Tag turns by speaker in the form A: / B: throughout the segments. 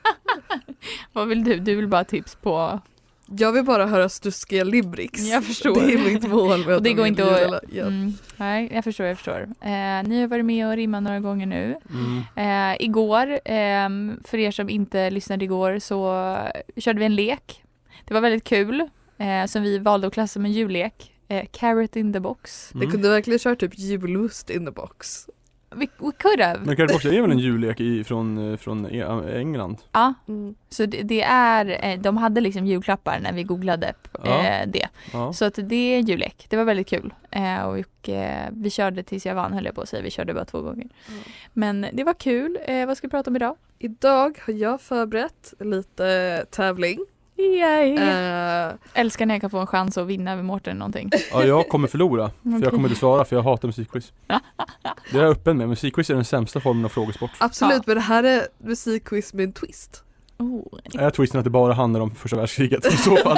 A: Vad vill du? Du vill bara ha tips på...
B: Jag vill bara höra snuskiga libricks.
A: Jag förstår.
B: Det är mitt mål med
A: Och det
B: att
A: går
B: min
A: inte
B: jul-
A: att... Mm, nej, jag förstår, jag förstår. Eh, ni har varit med och rimmat några gånger nu.
C: Mm.
A: Eh, igår, ehm, för er som inte lyssnade igår, så körde vi en lek. Det var väldigt kul, eh, som vi valde att klassa som en jullek. Eh, carrot in the box.
B: Det kunde verkligen köra typ julmust in the box.
A: We, we could have.
C: Mm. Men Carrot Box är väl en jullek i, från, eh, från E- England?
A: Ja,
B: Mm.
A: så det, det är, eh, de hade liksom julklappar när vi googlade
C: Ja.
A: eh, det.
C: Ja.
A: Så att det är en jullek. Det var väldigt kul. Eh, och eh, vi körde tills jag vann höll jag på att säga. Vi körde bara två gånger.
B: Mm.
A: Men det var kul. Eh, vad ska vi prata om idag?
B: Idag har jag förberett lite tävling.
A: Mm.
B: Eh,
A: Älskar när jag kan få en chans att vinna över Mårten någonting.
C: Ja, jag kommer förlora. För
A: Okej.
C: jag kommer inte svara för jag hatar musikquiz. Det är jag öppen med. Musikquiz är den sämsta formen av frågesport.
B: Absolut,
A: Ja.
B: men det här är musikquiz med en twist.
A: Oh,
C: Är twisten att det bara handlar om första världskriget i så fall?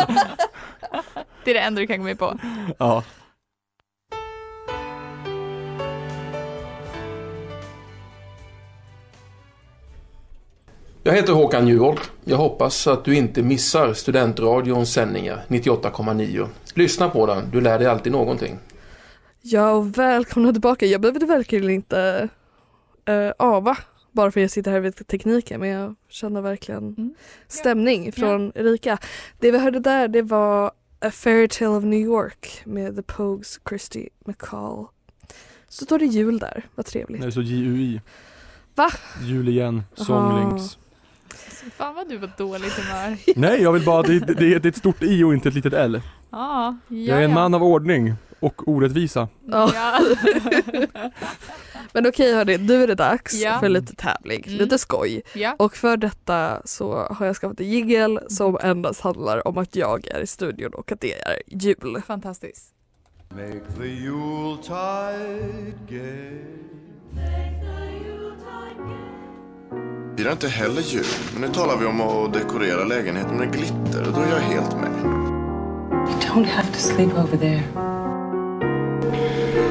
A: det är det enda du kan gå med på.
C: Ja.
D: Jag heter Håkan Juholt. Jag hoppas att du inte missar Studentradions sändningar 98,9. Lyssna på den, du lär dig alltid någonting.
B: Ja, och välkomna tillbaka. Jag behövde verkligen inte eh, ava bara för att jag sitter här vid tekniken men jag känner verkligen
A: Mm.
B: stämning från Erika. Det vi hörde där det var A Fairy Tale of New York med The Pogues Christy McCall. Så står det jul där, vad trevligt.
C: Det är så JUI.
B: Va?
C: Jul igen, Songlinks.
A: Fan vad du var dåligt humör.
C: Nej, jag vill bara, det, det, det är ett stort I och inte ett litet L.
A: Ja, ja,
C: Jag är en man av ordning och orättvisa.
B: Ja.
A: Ja.
B: Men okej hörni, nu är det dags
A: Ja.
B: för lite tävling,
A: Mm.
B: lite skoj.
A: ja.
B: Och för detta så har jag skaffat en jingel som endast handlar om att jag är i studion och att det är jul.
A: Fantastiskt.
E: Make the Yuletide gay
F: firar inte heller jul, men nu talar vi om att dekorera lägenheten med glitter och då är jag helt med.
G: You don't have to sleep over there.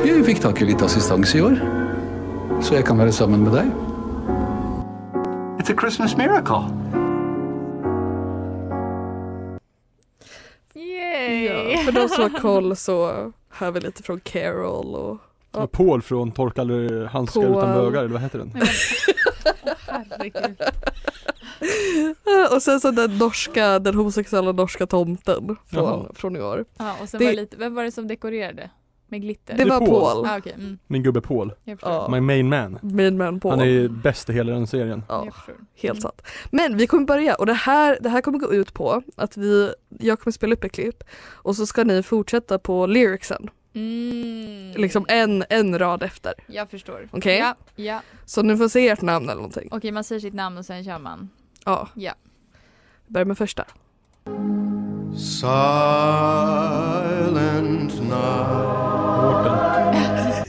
G: Jeg fikk tak i litt assistanse i år, så jeg kan være sammen med deg.
H: It's a Christmas miracle.
B: Ja, för de som har koll så hör vi lite från Carol och
C: Ja, Paul från Torka eller handskar
B: Paul.
C: utan bögar, eller vad heter den?
B: Eh, och sen så den norska, den homosexuella norska tomten
C: Jaha.
B: från, från i år.
A: Ja, och sen
B: Det-
A: var det lite, vem var det som dekorerade? Med glitter?
B: Det Det var var Paul. Paul.
A: Ah, okej, mm.
C: Min gubbe Paul.
A: Jag förstår.
C: My main man.
B: Main man Paul.
C: Han är bäst i hela den serien.
B: Ja, helt sant. Men vi kommer börja och det här, det här kommer gå ut på att vi, jag kommer spela upp ett klipp och så ska ni fortsätta på lyricsen.
A: Mm,
B: Liksom en, en rad efter.
A: jag förstår.
B: Okej?
A: Ja, ja.
B: Så ni får se ert namn eller någonting.
A: Okej, man säger sitt namn och sen kör man.
B: Ja.
A: Ja.
B: Börja med första.
I: Silent night.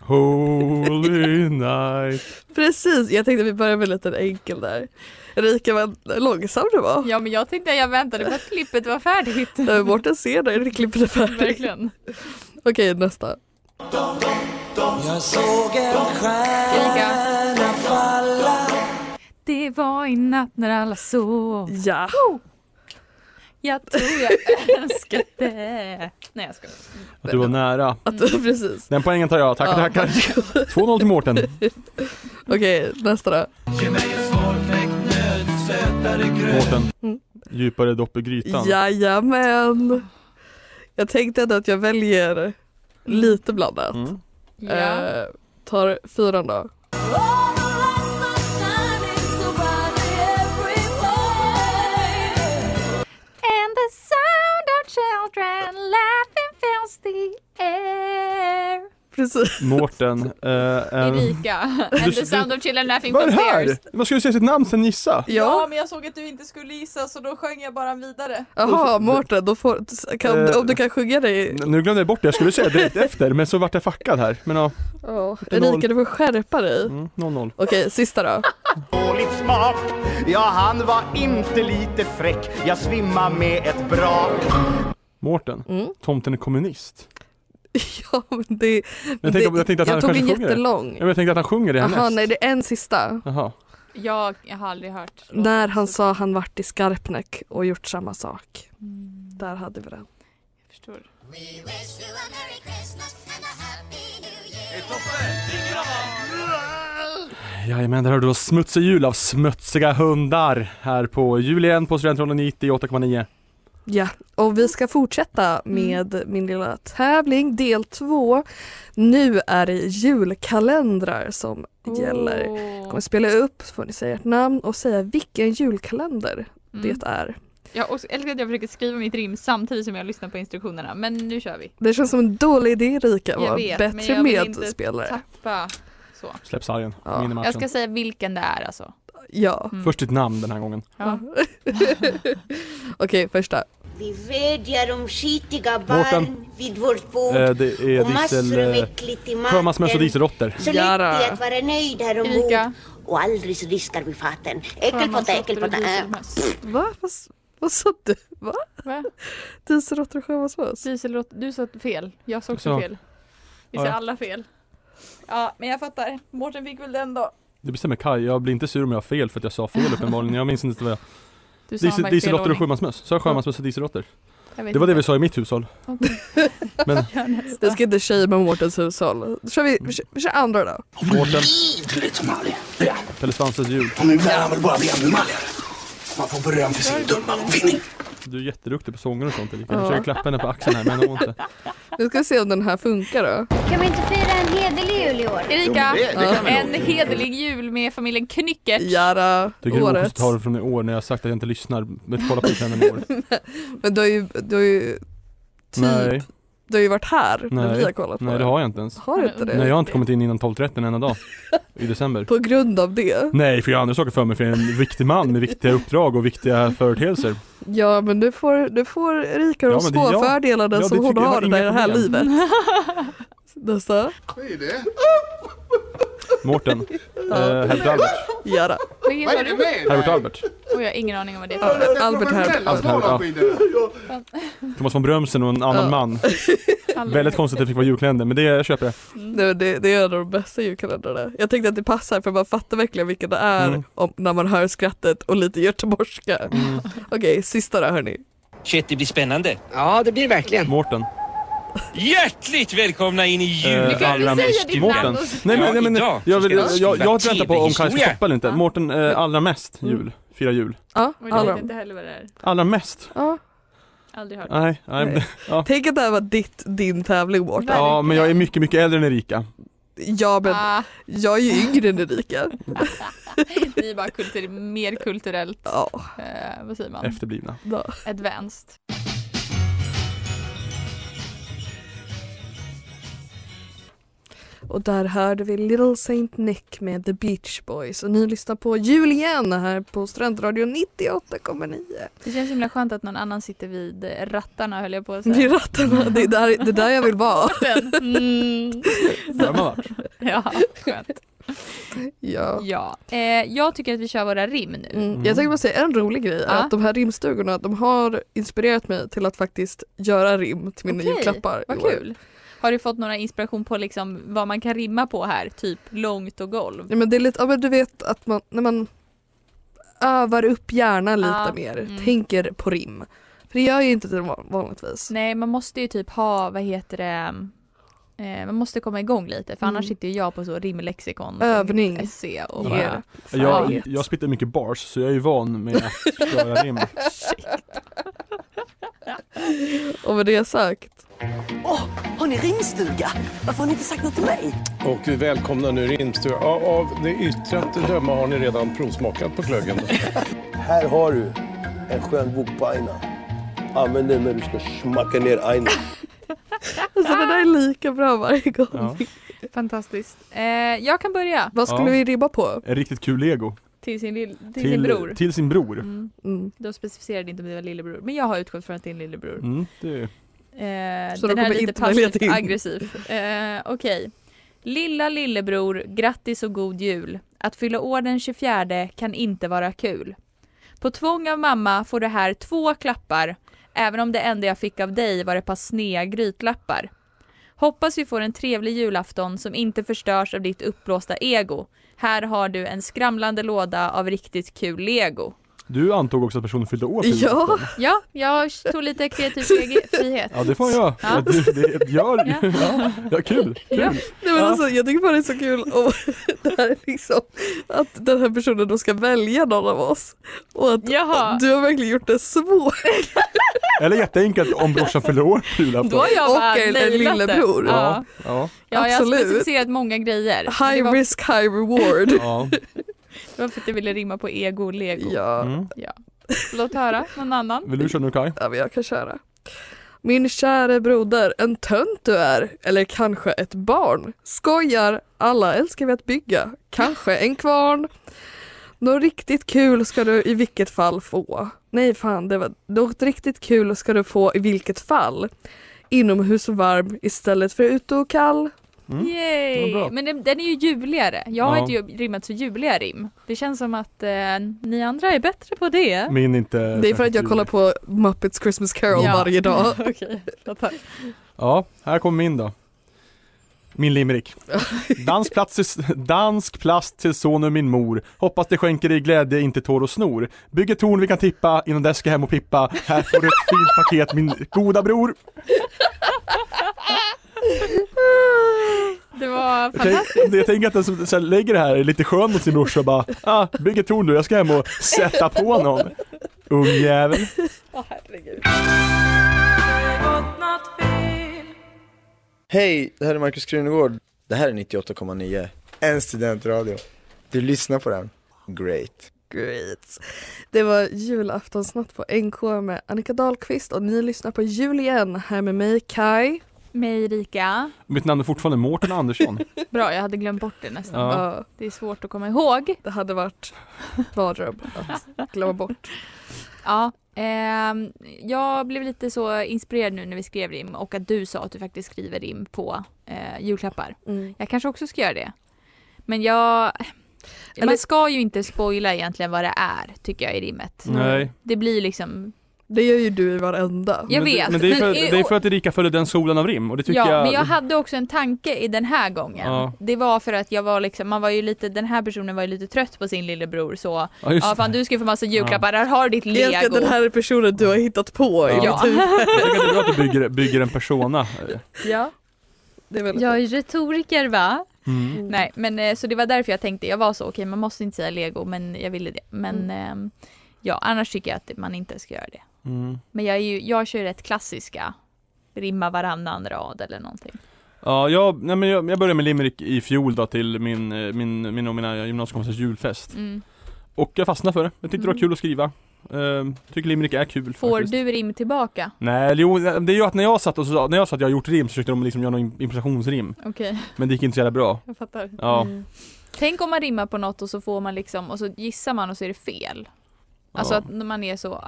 C: Holy night.
B: Precis, jag tänkte vi börjar med en liten enkel där. Erika vad långsam du var.
A: Ja, men jag tänkte jag väntade på att klippet var färdigt.
B: Ja. Mårten ser dig när klippet är färdigt.
A: Verkligen.
B: Okej nästa.
E: Jag såg en stjärna falla
A: Det var i natt när alla sov.
B: Ja.
A: Jag tror jag älskar det. Nej, jag skojar.
C: Att du var nära.
B: Att du, precis.
C: Den poängen tar jag, tackar
B: Ja.
C: tackar. 2-0 till Mårten.
B: Okej nästa då.
E: Ge mig en svårknäckt nöt, sötare gröt
C: Mårten. Djupare dopp i grytan.
B: Jajamän. Jag tänkte ändå att jag väljer lite blandat. Eh, tar fyran då.
J: And the sound of children laughing fills the air.
B: Precis.
C: Mårten. eh, en-
A: Erika,
C: Du-
A: and the sound
C: du-
A: of children laughing
C: Vad är det här?
A: upstairs.
C: Man skulle säga sitt namn sen gissa.
K: Ja. men jag såg att du inte skulle gissa så då sjöng jag bara vidare.
B: Jaha Mårten, då får, kan,
C: Eh.
B: om du kan sjunga dig.
C: Nu glömde jag bort det, jag skulle säga direkt efter men så vart jag fackad här. Men ja,
B: Ja. Erika du får skärpa dig.
C: Mm. 0-0.
B: Okej sista då.
H: Dåligt smak. Ja, han var inte lite fräck. Jag svimmar med ett brak.
C: Mårten,
B: Mm.
C: tomten är kommunist.
B: Ja men det,
C: Men jag, tänkte, jag tänkte att
B: jag
C: han
B: tog
C: kanske
B: en
C: sjunger det.
B: jättelång.
C: Ja, men jag tänkte att han sjunger det
B: Jaha
C: härnäst.
B: nej det är en sista.
C: Jaha.
A: Jag, jag har aldrig hört.
B: När han sa han vart i Skarpnäck och gjort samma sak. Där hade vi den.
A: Mm. Förstår.
C: Jajamän, där hörde du då Smutsig jul av Smutsiga hundar här på julen på Studentradion 98,9.
B: Ja, och vi ska fortsätta med min lilla tävling del två. Nu är det julkalendrar som gäller. Jag kommer spela upp så får ni säga ert namn och säga vilken julkalender
A: Mm.
B: det är.
A: Jag också älskar att jag försöker skriva mitt rim samtidigt som jag lyssnar på instruktionerna. Men nu kör vi.
B: Det känns som en dålig idé Erika,
A: Jag
B: var
A: vet, men
B: bättre
A: jag vill inte
B: medspelare.
A: tappa så.
C: Släpp sargen,
B: Ja.
C: in i matchen.
A: Jag ska säga vilken det är alltså.
B: Ja.
C: Först ditt namn den här gången.
A: Ja.
B: Okej, första.
L: Vi vädjar om skitiga
C: Mårten.
L: barn vid vårt bord
C: Eh, det är
L: och massor
C: diesel,
L: av
C: eh,
L: äckligt i
C: sjömansmöss och
L: maten.
C: dieselråttor.
L: Så lätt
C: Jara.
L: är att vara nöjd här ombord och aldrig så diskar vi faten. Äckelpotta, äckelpotta. äh.
B: Va? Vad, s- vad sa du? Va?
A: Va? Typ
B: Dieselråttor och sjömansmöss?
A: Dieselråttor, du sa fel. Jag sa också
C: Så.
A: fel.
K: Vi
C: Ja,
K: ser
C: ja.
K: alla fel. Ja, men jag fattar. Mårten fick väl den då.
C: Det bestämmer Kaj, jag blir inte sur om jag har fel för att jag sa fel uppenbarligen. Jag minns inte vad jag...
A: Du sa
C: Diesel-
A: bara i fel
C: Dieselråttor och
A: ordning.
C: sjömansmöss. Sa jag sjömansmöss och dieselråttor?
A: Jag vet
C: Det var det
A: inte.
C: vi sa i mitt hushåll. Men
B: Det ska inte tjejer med Mårtens hushåll. Då kör vi,
C: Mm.
B: vi, kör, vi kör andra då.
C: Mårten,
M: Livet som aldrig. Ja.
C: Pelle Svanslös jul.
M: Och nu lär han väl bara bli ännu malligare. Man får beröm för sin dumma uppfinning.
C: Du är jätteduktig på sånger och sånt Erika. Jag
B: Ja.
C: försöker klappa henne på axeln här men hon inte.
B: Nu ska vi se om den här funkar då.
J: Kan vi inte fira en hederlig jul i år?
A: Erika,
C: Jo, men det- det kan vi
A: en hederlig jul med familjen Knyckert.
B: Jara,
C: Tycker du det är
B: årets.
C: ta det från i år när jag har sagt att jag inte lyssnar? Men kolla på trenden i år.
B: Typ. Men du har ju, du har ju,
C: Nej.
B: du har ju varit här när
C: Nej.
B: vi har kollat på
C: Nej det har jag inte ens.
B: Har du inte det?
C: Nej jag har inte kommit in innan 12.30 en enda dag. I december.
B: På grund av det?
C: Nej för jag har andra saker för mig för jag är en viktig man med viktiga uppdrag och viktiga företeelser.
B: Ja men du får, du får Erika de
C: Ja, men det-
B: små
C: ja.
B: fördelarna
C: Ja, det
B: som hon
C: tycker jag
B: har
C: var
B: i
C: inga
B: det här
C: problem.
B: livet. Nästa.
F: Vad är det?
C: Mårten. Eh, Herbert Albert.
B: Jara.
A: Vad heter du?
C: Herbert Albert.
A: Oj, Och jag har ingen aning om vad det är
B: Ja,
A: för
B: Albert Herbert.
C: Albert Herbert,
A: Fan.
C: Thomas von Brömsen och en annan
B: Ja.
C: man. Väldigt konstigt att det fick vara julkalender men det jag köper det.
B: Det, det, det är en av de bästa julkalendrarna. Jag tänkte att det passar för man fattar verkligen vilka det är
C: Mm.
B: om, när man hör skrattet och lite göteborgska. Okej, sista då hörni.
I: Shit, det blir spännande.
B: Ja, det blir verkligen.
C: Mårten. Eh,
I: Hjärtligt välkomna in i
C: Allra mest-
I: julkalendern.
C: Mårten. Nej men, nej, men
I: idag
C: jag, vill,
I: ska
C: jag, jag,
I: skriva
C: jag väntar på om Kaj ska
I: TV-historia.
C: stoppa eller inte. Mårten,
I: Mm.
C: eh, allra mest jul. Fira jul.
B: Ja,
A: Och jag
B: alla
A: vet
B: de.
A: inte heller vad det är.
C: Allra mest?
B: Ja.
A: Aldrig hört.
C: Nej, nej. men- Ja.
B: Tänk att det här var ditt, din tävling Mårten.
C: ja men jag är mycket, mycket äldre än Erika.
B: Ja men
A: Ah.
B: jag är ju yngre än Erika.
A: Ni är bara kultur, mer kulturellt.
B: Ja.
A: Eh, vad säger man?
C: Efterblivna.
A: Advanced.
B: Och där hörde vi Little Saint Nick med The Beach Boys och ni lyssnar på jul igen här på Studentradion 98,9.
A: Det känns himla skönt att någon annan sitter vid eh, rattarna höll jag på att säga.
B: Vid rattarna, det är där, det är där jag vill vara.
A: Mm.
C: Där har man varit.
A: Ja, skönt.
B: Ja.
A: Ja. Eh, jag tycker att vi kör våra rim nu.
B: Mm. Jag tänkte bara säga en rolig grej,
A: Ja.
B: är att de här rimstugorna de har inspirerat mig till att faktiskt göra rim till mina
A: Okej,
B: julklappar. i
A: Vad
B: år.
A: kul. Har du fått några inspiration på liksom vad man kan rimma på här? Typ långt och golv?
B: Ja, men det är lite, ja, men du vet att man, när man övar upp hjärnan lite
A: Ja,
B: mer,
A: mm.
B: tänker på rim. För det gör ju inte det van- vanligtvis.
A: Nej, man måste ju typ ha, vad heter det, eh, man måste komma igång lite för annars sitter ju jag på så rimlexikon.
B: Mm. Övning.
A: SE och
B: Ja.
A: bara,
C: Jag, jag spittar mycket bars så jag är ju van med att köra rim.
B: Och med det sagt.
N: Åh, har ni rimstuga? Varför har ni inte sagt något till mig?
O: Och vi välkomnar nu Rimstur. Av, av det yttre att döma har ni redan provsmakat på glöggen.
M: Här har du en skön bok på aina. Använd den när du ska smacka ner aina.
B: Alltså det där är lika bra varje gång.
A: Fantastiskt. Eh, jag kan börja.
B: Vad skulle
C: Ja.
B: vi ribba på?
C: En riktigt kul lego.
A: Till sin, lill, till sin bror.
C: Till sin bror.
A: Mm. Då specificerade inte om det var lillebror, men jag har utgått från att det är en lillebror.
C: Mm, det är...
A: Eh,
C: Så
A: den
C: de
A: här är
C: kommer
A: lite
C: inte välja
A: passivt
C: till.
A: aggressiv. Eh, Okej. Lilla lillebror, grattis och god jul. Att fylla år den 24 kan inte vara kul. På tvång av mamma får du här två klappar, även om det enda jag fick av dig var ett par snea grytlappar. Hoppas vi får en trevlig julafton som inte förstörs av ditt uppblåsta ego. Här har du en skramlande låda av riktigt kul lego.
C: Du antog också att personen fyllde år på
A: Ja,
C: julafton.
A: ja jag tog lite kreativ frihet.
C: Ja det får jag. Ja. Det, det gör
A: Ja.
C: ja. ja, kul. kul.
B: Ja. Nej, men alltså, jag tycker bara det är så kul om det här är liksom, att den här personen då ska välja någon av oss. Och att
A: Jaha.
B: du har verkligen gjort det svårt.
C: Eller jätteenkelt om brorsan fyller år på julafton.
A: Då har jag bara
B: Och en, en
A: nailat det.
B: lillebror.
A: Ja.
C: Ja.
A: Ja, jag har
B: Absolut.
A: specificerat många grejer. det,
B: High
A: var,
B: risk, high reward.
C: Ja.
A: det var för att jag ville rimma på ego och lego.
B: Ja.
A: ja. Låt höra, någon annan?
C: Mm. Vill du köra nu Kaj?
B: Ja, men jag kan köra. Min käre broder, en tönt du är, eller kanske ett barn. Skojar, alla älskar vi att bygga, kanske en kvarn. Något riktigt kul ska du i vilket fall få. Nej fan, det var något riktigt kul ska du få i vilket fall. Inomhus och varm istället för ute och kall.
C: Mm.
A: Yay!
B: Mm. Vad bra.
A: Men den, den är ju juligare. Jag har
C: Ja.
A: inte ju- rimmat så juliga rim. Det känns som att eh, ni andra är bättre på det.
B: Mm.
C: Min inte.
B: Det är för att jag kollar på Muppets Christmas Carol
A: Ja.
B: varje dag.
A: Okej, låt höra.
C: Ja, här kommer min då. Min limerick. Dansk, plats till, dansk plast till son och min mor. Hoppas det skänker dig glädje, inte tår och snor. Bygg ett torn vi kan tippa, innan dess ska jag hem och pippa. Här får du ett fint paket min goda bror.
A: Det var
C: Jag, tänk, jag tänker att den som så här, lägger det här är lite skön mot sin brorsa och bara ah, bygg ett torn du, jag ska hem och sätta på någon. Ungjävel.
P: Hej, det här är Markus Krunegård. Det här är 98,9. En studentradio. Du lyssnar på den. Great.
B: Great. Det var julaftonsnatt på NK med Annika Dahlqvist och ni lyssnar på jul igen här med mig Kai.
A: Mig Erika.
C: Mitt namn är fortfarande Mårten Andersson.
A: Bra, jag hade glömt bort det nästan.
C: Ja.
A: Det är svårt att komma ihåg.
B: Det hade varit badrum att glömma bort.
A: Ja, ehm, jag blev lite så inspirerad nu när vi skrev rim och att du sa att du faktiskt skriver rim på eh, julklappar.
B: Mm.
A: Jag kanske också ska göra det. Men jag, Man ska ju inte spoila egentligen vad det är, tycker jag i rimmet.
C: Mm. Nej.
A: Det blir liksom...
B: Det gör ju du i varenda.
A: Jag
C: men, det-
A: vet,
C: Men det är, för,
A: men i
C: det är
A: år-
C: för att Erika följer den solen av rim och det tycker
A: ja,
C: jag...
A: men jag hade också en tanke i den här gången.
C: Ja.
A: Det var för att jag var liksom, man var ju lite, den här personen var ju lite trött på sin lillebror så,
B: Ja,
A: ja,
B: just
A: fan du ska få massa julklappar, här har du ditt lego.
B: Egentligen den här personen du har hittat på i
C: Ja. typ.
B: ditt huvud.
C: Jag tycker att det är bra att du bygger, bygger en persona.
A: Ja. jag är retoriker va?
C: Mm.
A: Nej men eh, så det var därför jag tänkte, jag var så okej man måste inte säga lego men jag ville det. Men ehm, ja annars tycker jag att man inte ska göra det.
C: Mm.
A: Men jag, är ju, jag kör ju rätt klassiska, rimma varannan rad eller någonting.
C: Ja, jag, nej, men jag, jag började med limerick i fjol då till min, eh, min, min och mina gymnasiekompisars julfest.
A: Mm.
C: Och jag fastnade för det. Jag tyckte det var
A: Mm.
C: kul att skriva. Ehm, tycker limerick är kul
A: Får
C: faktiskt.
A: du rim tillbaka?
C: Nej, jo, det är ju att när jag satt och sa, när jag sa att jag har gjort rim så försökte de liksom göra någon improvisationsrim.
A: Okej, Mm.
C: Men det gick inte så jävla bra.
A: jag fattar.
C: Ja.
A: Tänk om man rimmar på något och så får man liksom, och så gissar man och så är det fel. Alltså
B: Ja.
A: att när man är så, ah,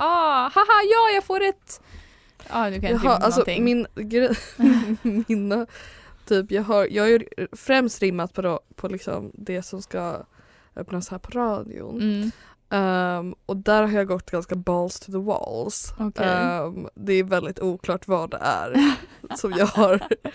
A: haha, ja jag får ett... Ja, du kan inte
B: Jaha,
A: rimma
B: alltså
A: någonting.
B: min gre- mina, typ jag har, jag har ju främst rimmat på, då, på liksom det som ska öppnas här på radion.
A: Mm.
B: Ehm, och där har jag gått ganska balls to the walls.
A: Okej.
B: Ehm, det är väldigt oklart vad det är som jag har eh,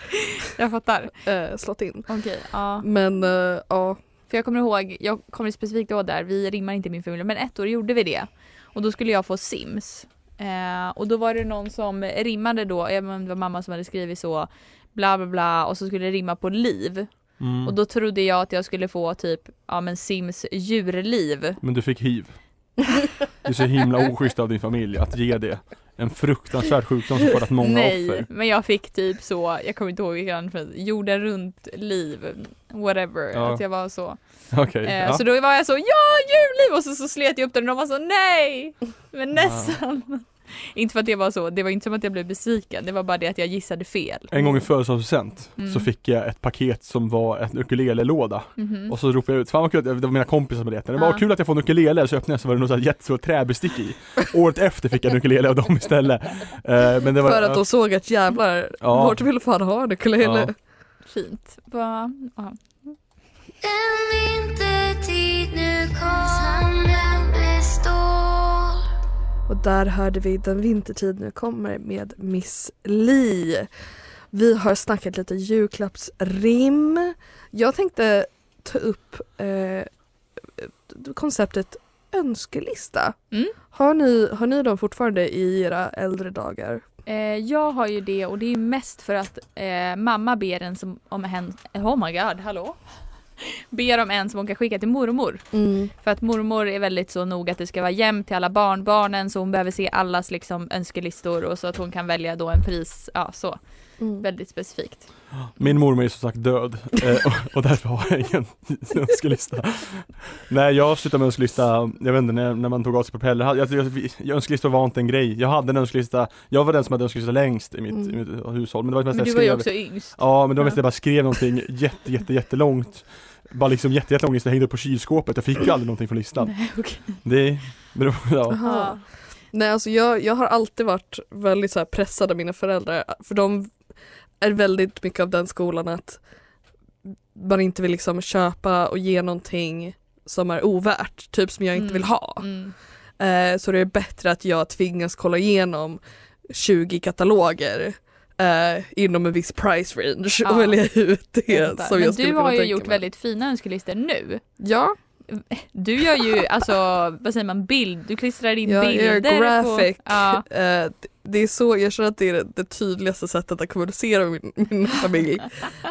A: jag fattar.
B: slått in.
A: Okej, ja.
B: Men eh, ja,
A: För jag kommer ihåg, jag kommer specifikt ihåg där, vi rimmar inte i min familj, men ett år gjorde vi det. Och då skulle jag få Sims. Eh, och då var det någon som rimmade då, jag vet inte om det var mamma som hade skrivit så, bla bla bla, och så skulle det rimma på liv.
C: Mm.
A: Och då trodde jag att jag skulle få typ, ja men Sims djurliv.
C: Men du fick hiv. Det är så himla oschysst av din familj att ge det. En fruktansvärd sjukdom som skördat många
A: Nej,
C: offer.
A: men jag fick typ så, jag kommer inte ihåg vilken, för jorden runt liv, whatever,
C: Ja.
A: att jag var så.
C: Okej.
A: Eh,
C: ja.
A: Så då var jag så ja julliv och så, så slet jag upp den och de var så nej men nästan. inte för att det var så, det var inte som att jag blev besviken det var bara det att jag gissade fel.
C: En gång i födelsedagspresent
A: Mm.
C: så fick jag ett paket som var en ukulelelåda.
A: Mhm.
C: Och så ropade jag ut, fan vad kul, att- det var mina kompisar som letade. Det var
A: Ja.
C: kul att jag får en ukulele, så öppnade jag så var det något så här jättestort träbestick i. Året efter fick jag en ukulele av dem istället. Eh, men det var,
B: för att
C: ja.
B: de såg att jävlar,
C: Ja.
B: vart vill fan ha en ukulele?
C: Ja.
A: Fint. Va? ja.
J: En vintertid nu kom samlen består
B: Och där hörde vi Den vintertid nu kommer med Miss Li. Vi har snackat lite julklappsrim. Jag tänkte ta upp eh, konceptet önskelista.
A: Mm.
B: Har, ni, har ni dem fortfarande i era äldre dagar?
A: Eh, jag har ju det och det är ju mest för att eh, mamma ber en som, om hen, oh my god, hallå? ber om en som hon kan skicka till mormor. För att mormor är väldigt så noga att det ska vara jämnt till alla barnbarnen så hon behöver se allas liksom önskelistor och så att hon kan välja då en pris, ja så.
B: Mm.
A: Väldigt specifikt.
C: Min mormor är som sagt död eh, och, och därför har jag ingen önskelista. Nej jag slutade med önskelista, jag vet inte när, när man tog av sig propeller, jag, jag, jag, jag, önskelista var inte en grej. Jag hade en önskelista, jag var den som hade önskelista längst i mitt, i
A: Mm.
C: mitt eh, hushåll. Men, det var mest
A: Men
C: jag
A: du var ju
C: skrev-
A: också yngst.
C: Ja men det var mest
A: Ja.
C: att jag bara skrev någonting jätte jätte jättelångt Bara liksom jätte jättelångt listan, jag hängde upp på kylskåpet, jag fick ju aldrig någonting från listan
A: Nej, okej.
C: Det beror, ja
B: Aha. Nej, alltså jag, jag har alltid varit väldigt så här pressad av mina föräldrar för de är väldigt mycket av den skolan att man inte vill liksom köpa och ge någonting som är ovärt, typ som jag inte vill ha.
A: Mm.
B: Eh, så det är bättre att jag tvingas kolla igenom 20 kataloger eh, inom en viss price range
A: Ja.
B: och välja ut det som
A: Men
B: jag skulle
A: du
B: kunna
A: har ju
B: tänka
A: gjort
B: mig.
A: väldigt fina önskelistor nu.
B: Ja.
A: Du gör ju alltså, vad säger man, bild, du klistrar in
B: Jag
A: bilder.
B: är graphic.
A: På, ja.
B: Eh, det- det är så, jag känner att det är det, det tydligaste sättet att kommunicera med min, min familj.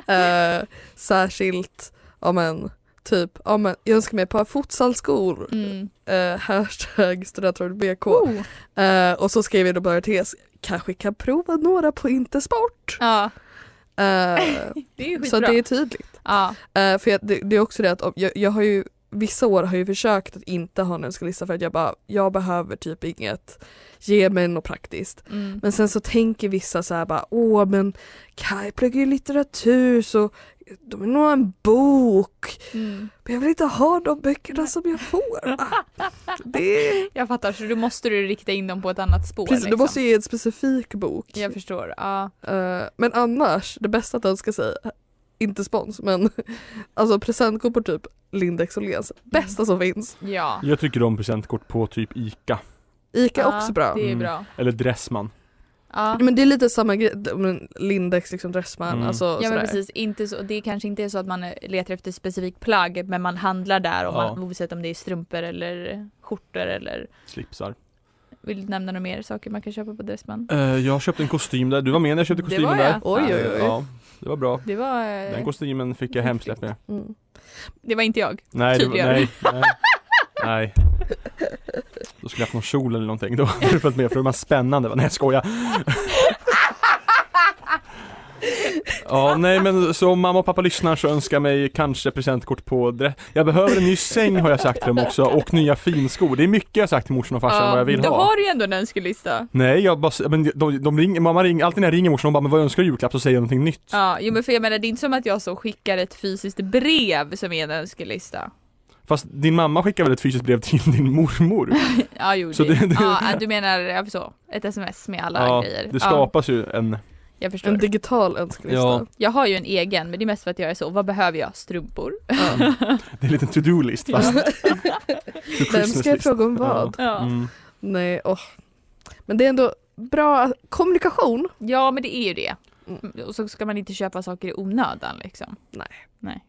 B: Eh, särskilt, ja men, typ, ja men, jag önskar mig ett par futsalskor.
A: Mm.
B: Eh, hashtag studentradion BK.
A: Oh.
B: Eh, och så skrev jag då bara en tes, kanske kan prova några på Intersport.
A: Ja.
B: det
A: är ju
B: så
A: skitbra.
B: det är tydligt.
A: Ja.
B: Eh, för jag, det, det är också det att om, jag, jag har ju vissa år har jag ju försökt att inte ha en önskelista för att jag bara, jag behöver typ inget, ge mig något praktiskt.
A: Mm.
B: Men sen så tänker vissa så här bara, åh men Kaj pluggar ju litteratur så de vill nog ha en bok.
A: Mm.
B: Men jag vill inte ha de böckerna som jag får. Ah, Det är...
A: Jag fattar, så då måste du rikta in dem på ett annat spår.
B: Precis,
A: liksom.
B: du måste ju ge en specifik bok.
A: Jag förstår, ja.
B: Eh, men annars, det bästa att önska sig, inte spons men alltså presentkort på typ Lindex Åhléns. Bästa som finns.
A: Ja.
C: Jag tycker om presentkort på typ Ica.
B: Ica
A: Ja,
B: också bra.
A: det är Mm. bra.
C: Eller Dressman.
A: Ja.
B: Men det är lite samma grej, men Lindex liksom Dressman,
C: Mm.
B: alltså
A: Ja men
B: sådär.
A: precis, inte så, det kanske inte är så att man eh, letar efter specifikt plagg men man handlar där om
C: Ja.
A: man, oavsett om det är strumpor eller skjortor eller
C: Slipsar.
A: vill du nämna några mer saker man kan köpa på Dressman?
C: Eh, jag köpte en kostym där, du var med när jag köpte
A: Det
C: kostymen
A: var jag.
C: där.
A: Oj, oj, oj.
C: Ja, det var bra.
A: Det var, eh,
C: Den kostymen fick jag hemsläpp med.
B: Mm.
A: Det var inte jag.
C: Nej, det, var-
A: Tydligare.
C: nej, nej. nej. Då skulle jag haft någon kjol eller någonting, då hade du följt med för det var spännande. Nej jag skojar. Ja, nej men så om mamma och pappa lyssnar så önskar jag mig kanske presentkort på dre- Jag behöver en ny säng har jag sagt till dem också och nya finskor. Det är mycket jag har sagt till morsan och farsan
A: Ja,
C: vad jag vill
A: då
C: ha.
A: har du ju ändå en önskelista.
C: Nej, jag bara, men de, de, ringer, mamma ringer, alltid när jag ringer morsan hon bara men vad önskar du i julklapp så säger jag någonting nytt.
A: Ja, jo men för jag menar det är inte som att jag så skickar ett fysiskt brev som är en önskelista.
C: Fast din mamma skickar väl ett fysiskt brev till din mormor?
A: Ja, jo,
C: Så
A: det,
C: det- det-
A: ja du menar ja, så, ett sms med alla grejer.
C: det skapas ju en
A: Ja, jag förstår.
B: En digital önskelista.
C: Ja.
A: Jag har ju en egen men det är mest för att jag är så, vad behöver jag? Strumpor.
C: Det är en liten to-do-list fast
B: Vem ska jag fråga om vad?
A: Ja.
C: Mm.
B: Nej, åh. Men det är ändå bra kommunikation.
A: Ja men det är ju det. Mm. Och så ska man inte köpa saker i onödan liksom.
B: Nej.
A: Nej.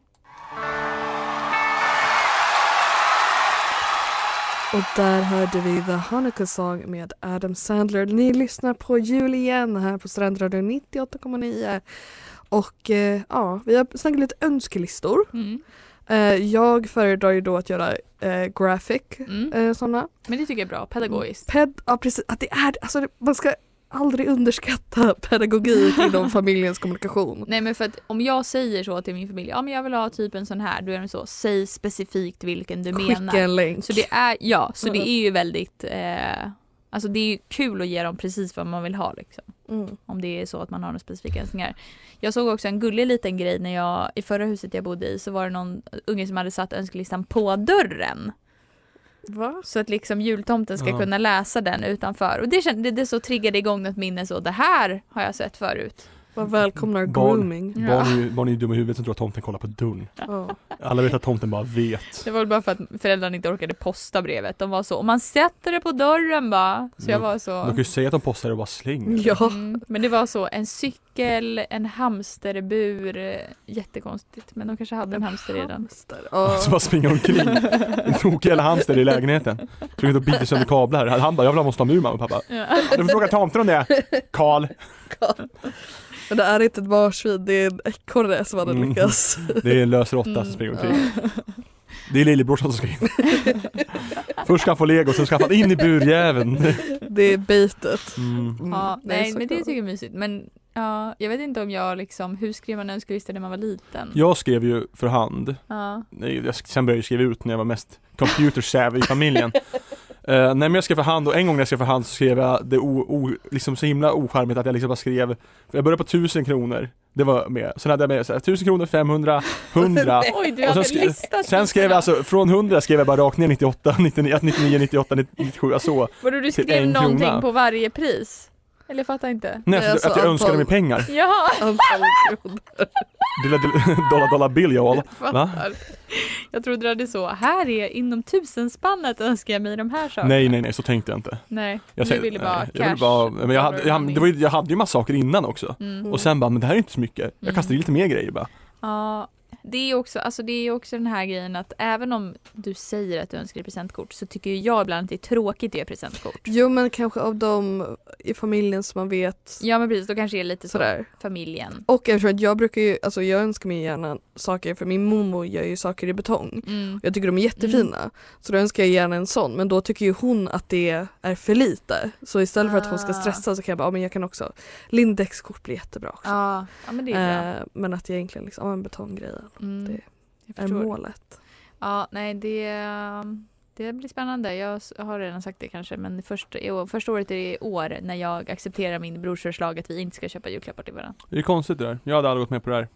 B: Och där hörde vi The Hanukkah Song med Adam Sandler. Ni lyssnar på jul igen här på Strandradion 98,9. Och eh, ja, vi har snackat lite önskelistor.
A: Mm.
B: Eh, jag föredrar ju då att göra eh, graphic
A: Mm.
B: eh, sådana.
A: Men det tycker jag är bra, pedagogiskt.
B: Ped, ja precis, att det är, alltså det- man ska aldrig underskatta pedagogik inom familjens kommunikation.
A: Mm. Nej men för att om jag säger så till min familj, ja men jag vill ha typ en sån här, då är de så, säg specifikt vilken du
B: Skicka
A: menar.
B: en länk.
A: Så det är, ja, så det
B: Mm.
A: är ju väldigt, eh, alltså det är ju kul att ge dem precis vad man vill ha liksom.
B: Mm.
A: Om det är så att man har några specifika önskningar. Jag såg också en gullig liten grej när jag, i förra huset jag bodde i så var det någon unge som hade satt önskelistan på dörren.
B: Va?
A: Så att liksom jultomten ska
B: Ja.
A: kunna läsa den utanför. Och det, kände, det, det så triggade igång något minne så, det här har jag sett förut.
B: Vad välkomnar
C: barn,
B: grooming.
C: barn, är ju, barn är ju dumma i huvudet som tror att tomten kollar på dörren.
B: Ja.
C: Alla vet att tomten bara vet.
A: Det var väl bara för att föräldrarna inte orkade posta brevet. De var så, om man sätter det på dörren bara. Så jag var
C: De kan
A: så.
C: ju säga att de postar det och bara slänger.
B: Ja.
A: Mm, men det var så, en cykel, en hamsterbur. eh, Jättekonstigt, men de kanske hade en hamster redan.
C: Som bara springer omkring. En tokig jävla hamster i lägenheten. Tror inte att biter sönder kablar. Han bara, jag vill ha måste ha mur mamma och pappa.
A: Ja.
C: Du får fråga tomten om det. Karl.
B: Men det är inte ett marsvin, det är en ekorre som hade
C: Mm.
B: lyckats.
C: Det är en lös råtta som springer omkring. Det är lillebrorsan som ska in. Först ska han få lego, sen ska han in i burjäveln.
B: Det är baitet.
C: Mm.
A: Ja,
B: det är
A: nej
B: så
A: men det
B: kul.
A: tycker jag är mysigt. Men ja, jag vet inte om jag liksom, hur skrev man önskelista när man var liten?
C: Jag skrev ju för hand.
A: Ja.
C: Nej, jag- Sen började jag skriva ut när jag var mest computer savvy i familjen. Eh, nej men jag skrev för hand och en gång när jag skrev för hand så skrev jag det o, o, liksom så himla ocharmigt att jag liksom bara skrev för Jag började på 1000 kronor Det var med, sen hade jag med så här, 1000 kronor, 500, 100
A: Oj, du
C: Och
A: hade
C: sen, skrev,
A: listat
C: sen skrev jag alltså från 100 skrev jag bara rakt ner 98, 99, 99 98, 97, ja, så
A: Vadå du
C: till
A: skrev
C: en
A: någonting
C: krona.
A: på varje pris? Eller jag fattar inte.
C: Nej, alltså, att jag önskade mig pengar.
A: Jaha!
C: Dilla, dilla, dollar dollar bill jag Va?
A: Fattar. Jag trodde det hade så, här är inom tusenspannet önskar jag mig de här sakerna.
C: Nej nej nej, så tänkte jag inte.
A: Nej,
C: Jag,
A: du
C: säger-
A: ville bara
C: nej,
A: cash.
C: jag ville bara, men jag, hade, jag, det var, ju- jag hade ju massa saker innan också.
A: Mm.
C: Och sen bara, men det här är inte så mycket.
A: Mm.
C: Jag kastade i lite mer grejer bara.
A: Ja, det är också, alltså det är också den här grejen att även om du säger att du önskar dig presentkort så tycker ju jag ibland att det är tråkigt att ge presentkort.
B: Jo men kanske av de i familjen som man vet.
A: Ja men precis, då kanske det är lite så
B: Sådär.
A: familjen.
B: Och eftersom att jag brukar ju, alltså jag önskar mig gärna saker för min mormor gör ju saker i betong.
A: Mm.
B: Jag tycker de är jättefina. Så då önskar jag gärna en sån men då tycker ju hon att det är för lite. Så istället för att hon ska
A: Ah.
B: stressa så kan jag bara, ja men jag kan också, Lindex-kort blir jättebra också.
A: Ja, ja men det är bra.
B: Eh, men att jag egentligen liksom, ja men betonggrejen
A: Mm.
B: det
A: Jag
B: är
A: förstår.
B: målet.
A: Ja, nej det, det blir spännande. Jag s- har redan sagt det kanske men första, i år- första året är det i år när jag accepterar min brors förslag att vi inte ska köpa julklappar till varandra.
C: Det är konstigt det där. Jag hade aldrig gått med på det här.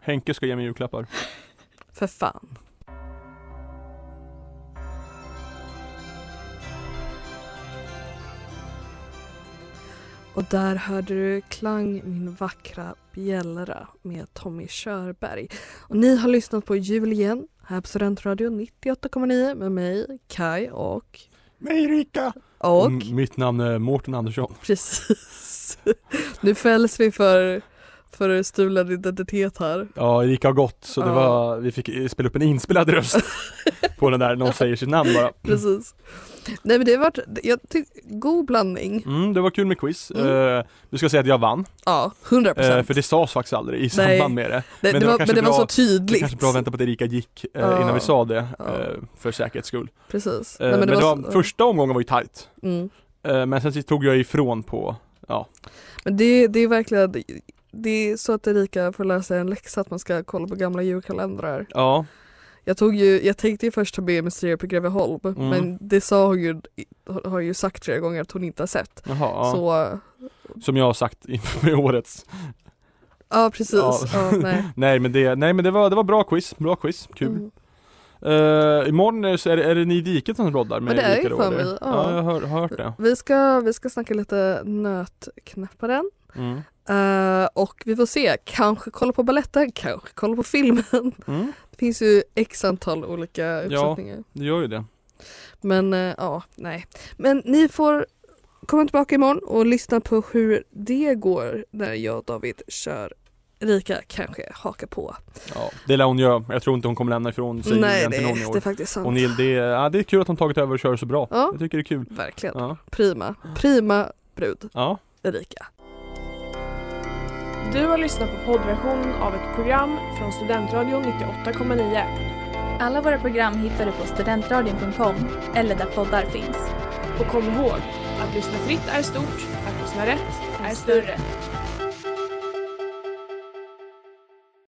C: Henke ska ge mig julklappar.
B: För fan. Och där hörde du Klang min vackra bjällra med Tommy Körberg. Och ni har lyssnat på Jul igen här på Studentradion 98,9 med mig, Kai och...
C: Mig Rika!
B: Och
C: M- Mitt namn är Mårten Andersson.
B: precis, nu fälls vi för, för stulen identitet här.
C: Ja, Erika har gått så det
B: Ja.
C: var, vi fick eh, spela upp en inspelad röst på den där, någon säger sitt namn bara.
B: Precis. Nej men det har varit, jag tycker, god blandning.
C: Mm, det var kul med quiz. Eh, du ska säga att jag vann.
B: Ja, 100
C: Eh,
B: procent.
C: för det sades faktiskt aldrig i
B: Nej.
C: samband med
B: det
C: det.
B: var-
C: kanske
B: men det var så
C: Det
B: tydligt.
C: kanske bra att vänta på att Erika gick eh,
B: Ja.
C: innan vi sa det, eh, för säkerhets skull.
B: Precis.
C: Eh,
B: Nej,
C: men det var,
B: så-
C: första omgången var ju tajt.
B: Mm.
C: Eh, men sen så tog jag ifrån på, ja.
B: Men det, det är verkligen, det är så att Erika får lära sig en läxa att man ska kolla på gamla julkalendrar.
C: Ja,
B: Jag, tog ju, jag tänkte ju först ta med Mysterier på Greveholm
C: Mm.
B: men det sa hon ju, har ju sagt flera gånger att hon inte har sett.
C: Jaha, ja.
B: Så,
C: som jag har sagt inför med årets.
B: ja precis. Ja. nej.
C: nej men, det, nej, men det, var, det var bra quiz, bra quiz, kul.
B: Mm.
C: Eh, imorgon är, så är, det- är det ni i diket som roddar med
B: Men det är
C: Erika
B: ju
C: då,
B: för
C: eller?
B: mig, ja.
C: ja. jag har, har hört det.
B: Vi, ska, vi ska snacka lite nötknäpparen.
C: Mm.
B: Eh, och vi får se, kanske kolla på baletten, kanske kolla på filmen.
C: Mm.
B: Det finns ju x antal olika
C: Ja,
B: uppsättningar.
C: det gör ju det.
B: Men eh, ja, nej. Men ni får komma tillbaka imorgon och lyssna på hur det går när jag och David kör Rika kanske hakar på.
C: Ja, det lär hon göra. Jag tror inte hon kommer lämna ifrån sig
B: Nej,
C: julen till
B: det-
C: någon i år.
B: det är faktiskt sant.
C: Och Neil, det, är- ja, det är kul att hon tagit över och kör så bra.
B: Ja.
C: Jag tycker det är kul.
B: Verkligen.
C: Ja.
B: Prima, prima brud
C: ja.
B: Erika.
Q: Du har lyssnat på poddversionen av ett program från Studentradion 98,9.
K: Alla våra program hittar du på studentradion.com eller där poddar finns.
Q: Och kom ihåg, att lyssna fritt är stort, att lyssna rätt är större.